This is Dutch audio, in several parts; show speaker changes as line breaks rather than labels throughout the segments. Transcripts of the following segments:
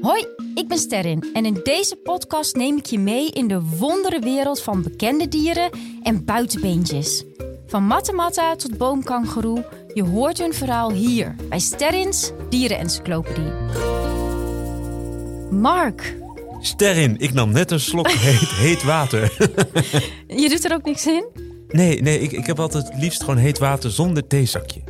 Hoi, ik ben Sterrin en in deze podcast neem ik je mee in de wondere wereld van bekende dieren en buitenbeentjes. Van mattematta tot boomkangeroe, je hoort hun verhaal hier bij Sterrins Dierenencyclopedie. Mark,
Sterrin, ik nam net een slok heet, heet water.
je doet er ook niks in?
Nee, nee, ik, ik heb altijd het liefst gewoon heet water zonder theezakje.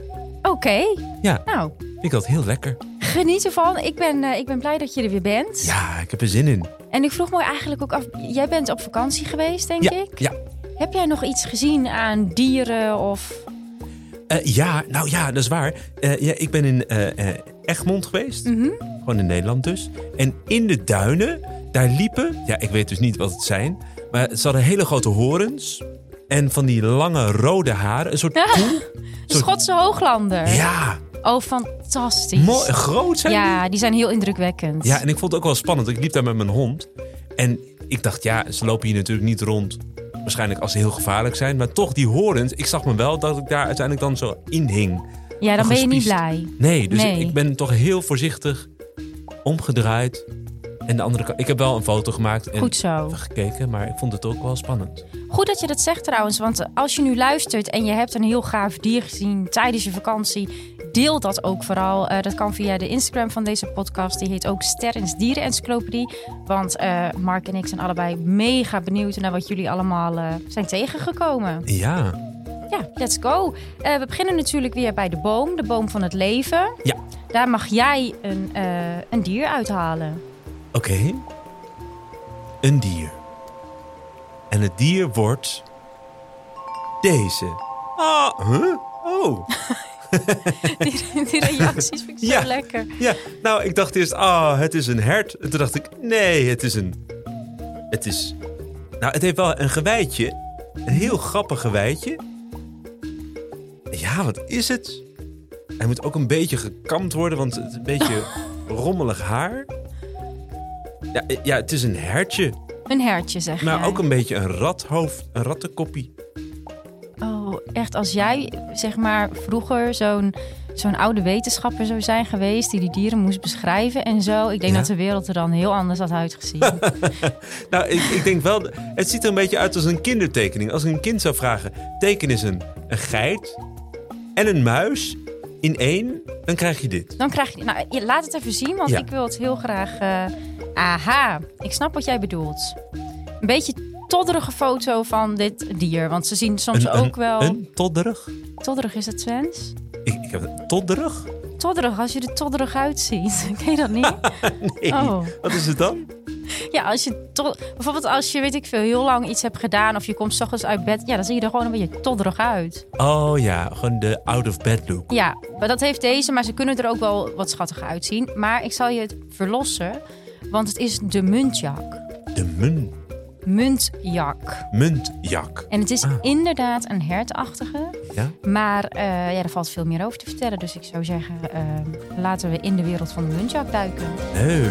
Oké,
Ja,
nou,
ik had heel lekker.
geniet ervan. Ik ben, eh, ik ben blij dat je er weer bent.
Ja, ik heb er zin in.
En ik vroeg me eigenlijk ook af, jij bent op vakantie geweest, denk
Ja,
ik.
ja.
Heb jij nog iets gezien aan dieren of...
Eh, ja, nou ja, dat is waar. Eh, ja, ik ben in eh, eh, Egmond geweest.
Mhm.
Gewoon in Nederland dus. En in de duinen, daar liepen... Ja, ik weet dus niet wat het zijn. Maar ze hadden hele grote horens. En van die lange rode haren. Een soort koe.
De Schotse Hooglander.
Ja,
Oh, fantastisch.
mooi, groot zijn die.
Ja, die zijn heel indrukwekkend.
Ja, en ik vond het ook wel spannend. Ik liep daar met mijn hond. En ik dacht, ja, ze lopen hier natuurlijk niet rond. Waarschijnlijk als ze heel gevaarlijk zijn. Maar toch, die horens. Ik zag me wel dat ik daar uiteindelijk dan zo in hing.
Ja, dan ben je niet
gespiesd.
blij.
Nee, dus
Nee.
Ik, ik ben toch heel voorzichtig omgedraaid. En de andere kant. Ik heb wel een foto gemaakt en
Goed zo.
even gekeken. Maar ik vond het ook wel spannend.
Goed dat je dat zegt trouwens, want als je nu luistert en je hebt een heel gaaf dier gezien tijdens je vakantie, deel dat ook vooral. Eh, dat kan via de Instagram van deze podcast, die heet ook Sterrens Dierenencyclopedie. Want eh, Mark en ik zijn allebei mega benieuwd naar wat jullie allemaal eh, zijn tegengekomen.
Ja.
Ja, let's go. Eh, we beginnen natuurlijk weer bij de boom, de boom van het leven.
Ja.
Daar mag jij een, eh, een dier uithalen.
Oké. Een dier. En het dier wordt... Deze. Ah, huh? Oh.
Die, die reacties vind ik zo
Ja.
lekker.
Ja, nou, ik dacht eerst, ah, het is een hert. En toen dacht ik, nee, het is een... Het is... Nou, het heeft wel een gewijtje. Een heel grappig gewijtje. Ja, wat is het? Hij moet ook een beetje gekamd worden, want het is een beetje rommelig haar. Ja, eh, ja, het is een hertje,
Een hertje, zeg
maar
jij.
Nou, ook een beetje een rathoofd, een rattenkoppie.
Oh, echt als jij zeg maar vroeger zo'n zo'n oude wetenschapper zou zijn geweest die die dieren moest beschrijven en zo. Ik denk
Ja.
dat de wereld er dan heel anders had uitgezien.
Nou, ik, ik denk wel, het ziet er een beetje uit als een kindertekening. Als ik een kind zou vragen, teken eens een, een geit en een muis in één, dan krijg je dit.
dan krijg je, nou, je- laat het even zien, want
Ja.
ik wil het heel graag. eh, aha, ik snap wat jij bedoelt. Een beetje todderige foto van dit dier, want ze zien soms
een,
ook wel.
Een todderig?
Todderig is het Twens.
Ik, ik heb een todderig?
Todderig, als je er todderig uitziet. Ken je dat niet?
Nee.
Oh.
Wat is het dan?
Ja, als je to- bijvoorbeeld als je, weet ik veel, heel lang iets hebt gedaan of je komt 's ochtends uit bed, ja, dan zie je er gewoon een beetje todderig uit.
Oh ja, gewoon de out of bed look.
Ja, maar dat heeft deze, maar ze kunnen er ook wel wat schattig uitzien. Maar ik zal je het verlossen, want het is de muntjak.
De mun,
Muntjak.
muntjak.
En het is
Ah.
inderdaad een hertachtige,
Ja?
maar eh, ja, er valt veel meer over te vertellen. Dus ik zou zeggen, eh, laten we in de wereld van de muntjak duiken.
Leuk.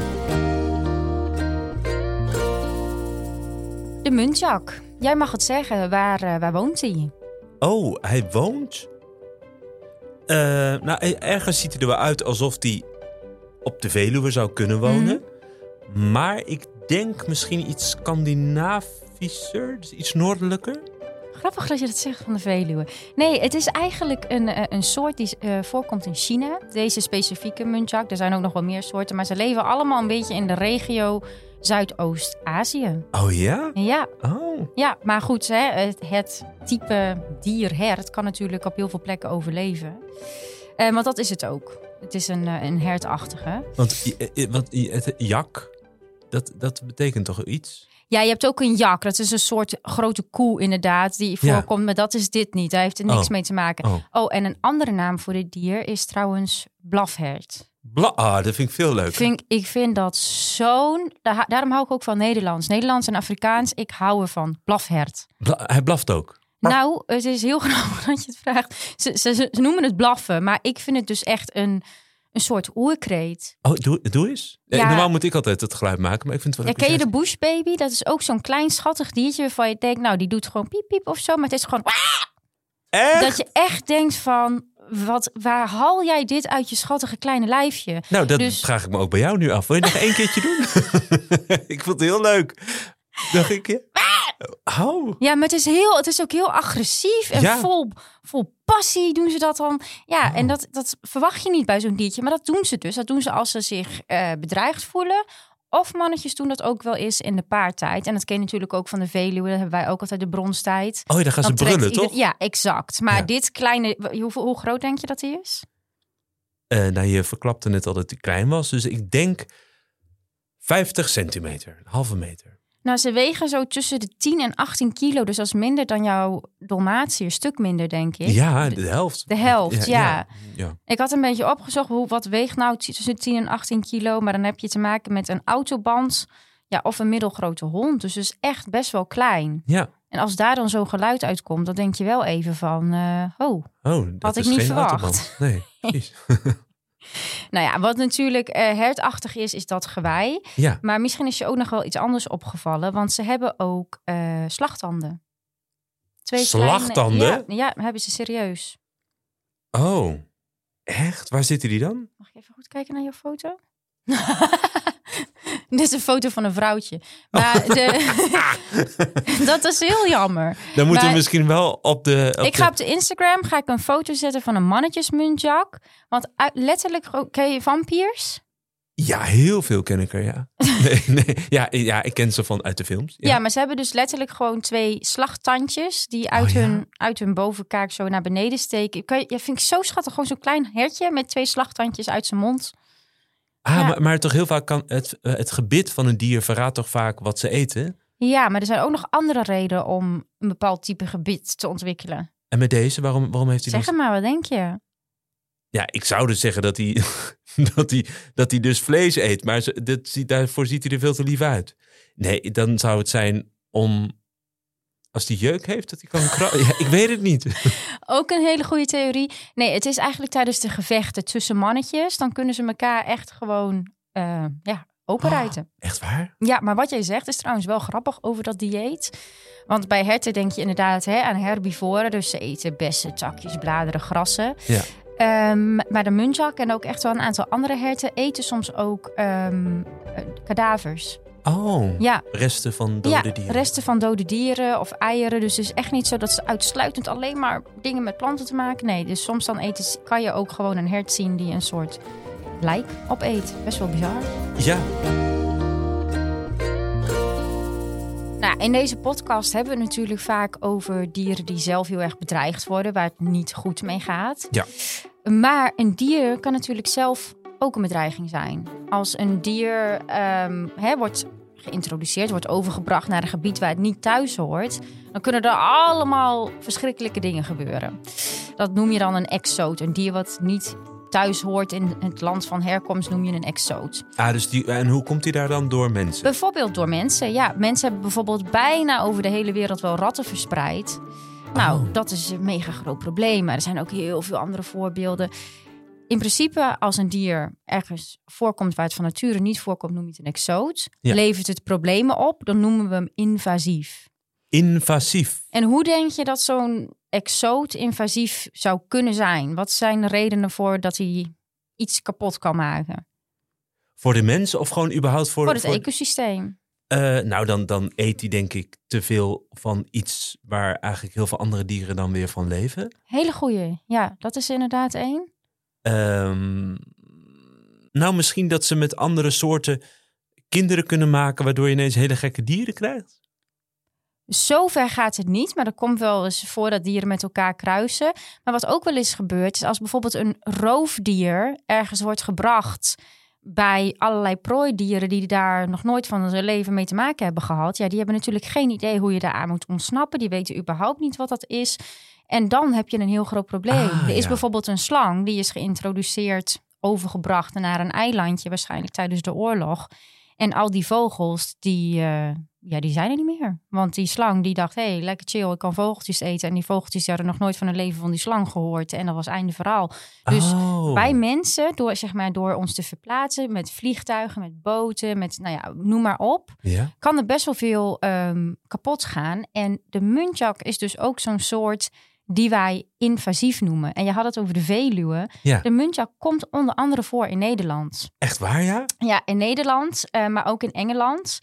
De muntjak. Jij mag het zeggen, waar, eh, waar woont hij?
Oh, hij woont. Eh, nou, e- ergens ziet hij er wel uit alsof hij op de Veluwe zou kunnen wonen. Maar ik denk misschien iets Scandinavischer, dus iets noordelijker.
Grappig dat je dat zegt van de Veluwe. Nee, het is eigenlijk een, eh, een soort die eh, voorkomt in China. Deze specifieke muntjak. Er zijn ook nog wel meer soorten. Maar ze leven allemaal een beetje in de regio Zuidoost-Azië.
Oh ja?
En Ja,
Oh.
ja, maar goed, hè, het, het type dierhert kan natuurlijk op heel veel plekken overleven. Eh, want dat is het ook. Het is een, eh, een hertachtige.
Want, i- i- want i- het eh, jak, dat, dat betekent toch iets?
Ja, je hebt ook een jak. Dat is een soort grote koe inderdaad die
Ja.
voorkomt. Maar dat is dit niet. Daar heeft er niks
Oh.
mee te maken.
Oh.
Oh, en een andere naam voor dit dier is trouwens blafhert.
Bla ah, dat vind ik veel leuker.
Vind, ik- ik vind dat zo'n... da- daarom hou ik ook van Nederlands. Nederlands en Afrikaans, ik hou ervan. Blafhert.
Bla- hij blaft ook. Maar-
Nou, het is heel grappig dat je het vraagt. Ze, ze, ze- ze noemen het blaffen, maar ik vind het dus echt een, een soort oerkreet.
Oh, doe, doe eens. Eh,
Ja.
Normaal moet ik altijd het geluid maken, maar ik vind het
Ja,
wel
ken je
leuk
de
als
bushbaby? Dat is ook zo'n klein schattig diertje waarvan je denkt... nou, die doet gewoon piep piep of zo, maar het is gewoon...
jij het- Echt?
Dat je echt denkt van, wat, waar haal jij dit uit je schattige kleine lijfje?
Nou, dat
Dus-
vraag ik me ook bij jou nu af. Wil je nog één keertje doen? ik vond het heel leuk. Dacht ik, ja. Oh.
Ja, maar het is, heel, het is ook heel agressief en
Ja. Oh.
vol, vol passie doen ze dat dan. Ja, en dat, dat verwacht je niet bij zo'n diertje, maar dat doen ze dus. Dat doen ze als ze zich eh, bedreigd voelen. Of mannetjes doen dat ook wel eens in de paartijd. En dat ken je natuurlijk ook van de Veluwe. Dat hebben wij ook altijd de bronstijd.
Oh, ja, dan gaan ze
Dan trekt
brullen,
ieder-
toch?
Ja, exact. Maar
Ja.
dit kleine... Hoe, hoe groot denk je dat die is?
Eh, nou, je verklapte net al dat hij klein was. Dus ik denk 50 centimeter, een halve meter.
Nou, ze wegen zo tussen de 10 en 18 kilo. Dus dat is minder dan jouw Dalmatie. Een stuk minder, denk ik.
Ja, de helft.
De helft, ja.
ja. ja.
Ik had een beetje opgezocht hoe, wat weegt nou t- tussen 10 en 18 kilo. Maar dan heb je te maken met een autoband ja, of een middelgrote hond. Dus het is echt best wel klein.
Ja.
En als daar dan zo'n geluid uitkomt, dan denk je wel even van... eh, oh,
Oh, dat
Had ik
is
niet
geen
verwacht.
autoband. Nee, precies.
nou ja, wat natuurlijk eh, hertachtig is, is dat gewei.
Ja.
Maar misschien is je ook nog wel iets anders opgevallen. Want ze hebben ook eh slagtanden. Twee kleine-
Slagtanden?
ja, ja, hebben ze serieus.
Oh, echt? Waar zitten die dan?
Mag ik even goed kijken naar jouw foto? Dit is een foto van een vrouwtje. Maar de, dat is heel jammer.
Dan moeten
Maar-
we misschien wel op de... op
ik ga
de-
op de Instagram ga ik een foto zetten van een mannetjesmuntjak. Want uit- letterlijk, gro- ken je vampiers?
Ja, heel veel ken ik er, ja. Nee, nee. Ja, ja, ik ken ze van uit de films.
Ja. maar ze hebben dus letterlijk gewoon twee slagtandjes die uit,
ja.
hun, uit hun bovenkaak zo naar beneden steken. Kan je, ja, vind ik zo schattig, gewoon zo'n klein hertje met twee slagtandjes uit zijn mond.
Ah,
Ja.
Maar, maar toch heel vaak kan het, eh, het gebit van een dier verraadt toch vaak wat ze eten.
Ja, maar er zijn ook nog andere redenen om een bepaald type gebied te ontwikkelen.
En met deze, waarom, waarom heeft hij
Zeg
dan...
het maar, wat denk je?
Ja, ik zou dus zeggen dat hij, dat hij, dat hij dus vlees eet. Maar ze- dit, ziet- daarvoor ziet hij er veel te lief uit. Nee, dan zou het zijn om... Als hij jeuk heeft, dat hij kan krabben. Ja, ik weet het niet.
Ook een hele goede theorie. Nee, het is eigenlijk tijdens de gevechten tussen mannetjes. Dan kunnen ze elkaar echt gewoon eh ja, openrijten.
Echt waar?
Ja, maar wat jij zegt is trouwens wel grappig over dat dieet. Want bij herten denk je inderdaad hè, aan herbivoren. Dus ze eten bessen, takjes, bladeren, grassen.
Ja.
Ehm, maar de muntjak en ook echt wel een aantal andere herten eten soms ook ehm, eh, kadavers.
Oh,
Ja,
resten van
ja
dode dieren.
resten van dode dieren of eieren. Dus het is echt niet zo dat ze uitsluitend alleen maar dingen met planten te maken. Nee, dus soms dan eten, ze- kan je ook gewoon een hert zien die een soort lijk opeet. Best wel bizar.
Ja,
Nou, in deze podcast hebben we het natuurlijk vaak over dieren die zelf heel erg bedreigd worden, waar het niet goed mee gaat.
Ja.
Maar een dier kan natuurlijk zelf ook een bedreiging zijn. Als een dier ehm, hè, wordt geïntroduceerd, wordt overgebracht naar een gebied waar het niet thuis hoort, dan kunnen er allemaal verschrikkelijke dingen gebeuren. Dat noem je dan een exoot, een dier wat niet thuis hoort in het land van herkomst, noem je een exoot.
Ah, dus die, en hoe komt hij daar dan door mensen?
Bijvoorbeeld door mensen. Ja, mensen hebben bijvoorbeeld bijna over de hele wereld wel ratten verspreid. Nou,
Oh.
dat is een mega groot probleem. Maar er zijn ook heel veel andere voorbeelden. In principe, als een dier ergens voorkomt waar het van nature niet voorkomt, noem je het een exoot.
Ja.
Levert het problemen op, dan noemen we hem invasief.
Invasief.
En hoe denk je dat zo'n exoot invasief zou kunnen zijn? Wat zijn de redenen voor dat hij iets kapot kan maken?
Voor de mensen of gewoon überhaupt voor...
Voor het ecosysteem.
Eh, nou, dan, dan eet hij denk ik te veel van iets waar eigenlijk heel veel andere dieren dan weer van leven.
Hele goeie. Ja, dat is inderdaad één.
Ehm, nou, misschien dat ze met andere soorten kinderen kunnen maken, waardoor je ineens hele gekke dieren krijgt.
Zover gaat het niet, maar er komt wel eens voor dat dieren met elkaar kruisen. Maar wat ook wel eens gebeurt, is als bijvoorbeeld een roofdier ergens wordt gebracht bij allerlei prooidieren die daar nog nooit van hun leven mee te maken hebben gehad. Ja, die hebben natuurlijk geen idee hoe je daaraan moet ontsnappen. Die weten überhaupt niet wat dat is. En dan heb je een heel groot probleem.
Ah,
er is
ja.
bijvoorbeeld een slang die is geïntroduceerd, overgebracht naar een eilandje, waarschijnlijk tijdens de oorlog. En al die vogels, die, eh, ja, die zijn er niet meer. Want die slang die dacht, hé, hey, lekker chill, ik kan vogeltjes eten. En die vogeltjes die hadden nog nooit van het leven van die slang gehoord. En dat was einde verhaal. Dus
oh.
Wij mensen, door, zeg maar, door ons te verplaatsen met vliegtuigen, met boten, met, nou ja, noem maar op.
Ja?
Kan er best wel veel ehm, kapot gaan. En de muntjak is dus ook zo'n soort die wij invasief noemen. En je had het over de Veluwe.
Ja.
De muntjac komt onder andere voor in Nederland.
Echt waar, ja?
Ja, in Nederland, eh, maar ook in Engeland.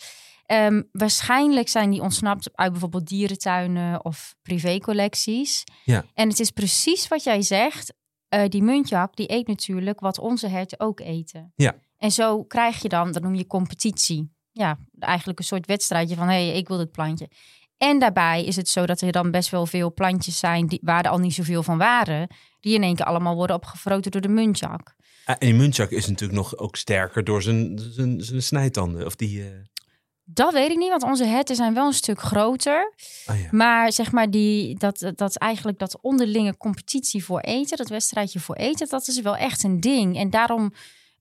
Ehm, waarschijnlijk zijn die ontsnapt uit bijvoorbeeld dierentuinen of privécollecties.
Ja.
En het is precies wat jij zegt. eh, die muntjak, die eet natuurlijk wat onze herten ook eten.
Ja.
En zo krijg je dan, dat noem je competitie. Ja, eigenlijk een soort wedstrijdje van, hé, hey, ik wil dit plantje. En daarbij is het zo dat er dan best wel veel plantjes zijn... Die, waar er al niet zoveel van waren... die in één keer allemaal worden opgevroten door de muntjak.
Ah, En die muntjak is natuurlijk nog ook sterker door zijn, zijn, zijn snijtanden. Of die... eh,
Dat weet ik niet, want onze herten zijn wel een stuk groter.
ah ja.
Maar zeg maar, die, dat, dat eigenlijk dat onderlinge competitie voor eten, dat wedstrijdje voor eten, dat is wel echt een ding. En daarom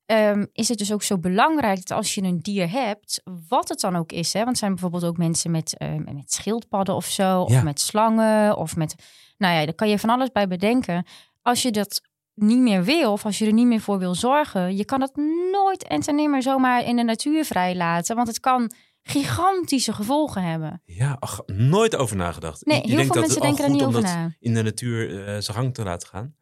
ehm, is het dus ook zo belangrijk dat als je een dier hebt, wat het dan ook is. Hè? Want er zijn bijvoorbeeld ook mensen met, ehm, met schildpadden of zo,
Ja.
of met slangen, of met. Nou ja, daar kan je van alles bij bedenken. Als je dat niet meer wil, of als je er niet meer voor wil zorgen, je kan dat nooit en ten nimmer zomaar in de natuur vrijlaten. Want het kan gigantische gevolgen hebben.
Ja, ach, nooit over nagedacht.
Nee,
Ik- ik
heel
denk
veel
dat
mensen
het al
denken er
goed
niet
om
over
dat
na.
in de natuur eh, zijn gang te laten gaan.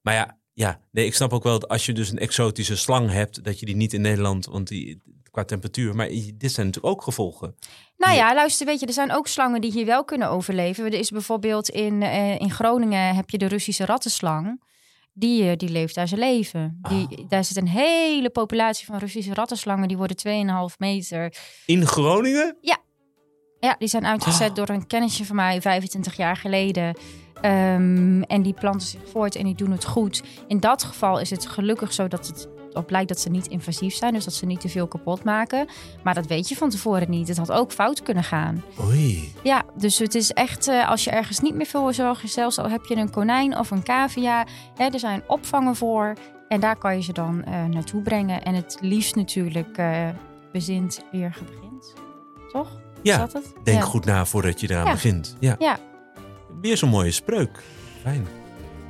Maar ja, ja, nee, ik snap ook wel dat als je dus een exotische slang hebt, dat je die niet in Nederland, want die qua temperatuur. Maar i- dit zijn natuurlijk ook gevolgen.
Nou
Ja.
ja, luister, weet je, er zijn ook slangen die hier wel kunnen overleven. Er is bijvoorbeeld in, eh, in Groningen heb je de Russische rattenslang. Die, eh, die leeft daar zijn leven. Die,
Ah.
Daar zit een hele populatie van Russische rattenslangen. Die worden 2,5 meter.
In Groningen?
Ja, die zijn uitgezet
Ah.
door een kennisje van mij 25 jaar geleden. Ehm, en die planten zich voort en die doen het goed. In dat geval is het gelukkig zo dat het op lijkt dat ze niet invasief zijn. Dus dat ze niet te veel kapot maken. Maar dat weet je van tevoren niet. Het had ook fout kunnen gaan.
Oei.
Ja, dus het is echt eh, als je ergens niet meer voor wil zorgen, zelfs al heb je een konijn of een cavia, hè, er zijn opvangen voor en daar kan je ze dan eh, naartoe brengen. En het liefst natuurlijk eh bezint weer begint. Toch? Is
Ja,
dat het?
denk
Ja.
goed na voordat je eraan
Ja.
begint. Ja.
Ja.
Weer zo'n mooie spreuk. Fijn.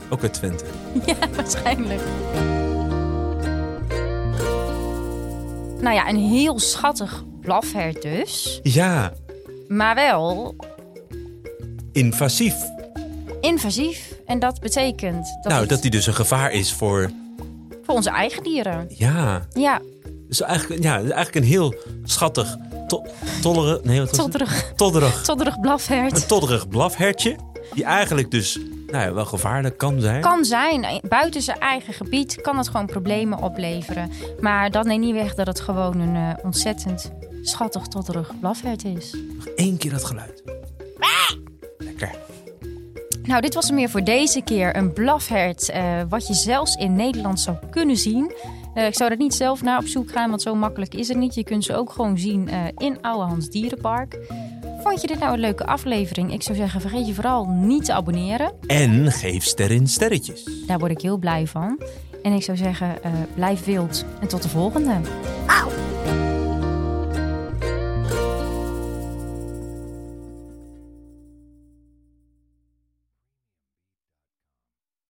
Ook uit Twente.
Ja, waarschijnlijk. Nou ja, een heel schattig blafhert dus,
Ja,
maar wel
invasief.
invasief. En dat betekent dat,
nou,
het
dat die dus een gevaar is voor.
voor onze eigen dieren.
Ja.
Ja,
Dus eigenlijk, ja, eigenlijk een heel schattig, to tollere, nee, wat was het?
todderig,
todderig,
todderig blafhert.
een todderig blafhertje. Die eigenlijk dus nou ja, wel gevaarlijk kan zijn.
Kan zijn. eh, Buiten zijn eigen gebied kan het gewoon problemen opleveren. Maar dat neemt niet weg dat het gewoon een eh, ontzettend schattig totterig blafhert is.
Eén keer dat geluid. Lekker.
Nou, dit was hem weer voor deze keer. Een blafhert eh, wat je zelfs in Nederland zou kunnen zien. Eh, ik zou er niet zelf naar op zoek gaan, want zo makkelijk is het niet. Je kunt ze ook gewoon zien eh, in Oude Hans Dierenpark. Vond je dit nou een leuke aflevering? Ik zou zeggen, vergeet je vooral niet te abonneren.
En geef sterren sterretjes.
Daar word ik heel blij van. En ik zou zeggen, eh, blijf wild en tot de volgende. Auw!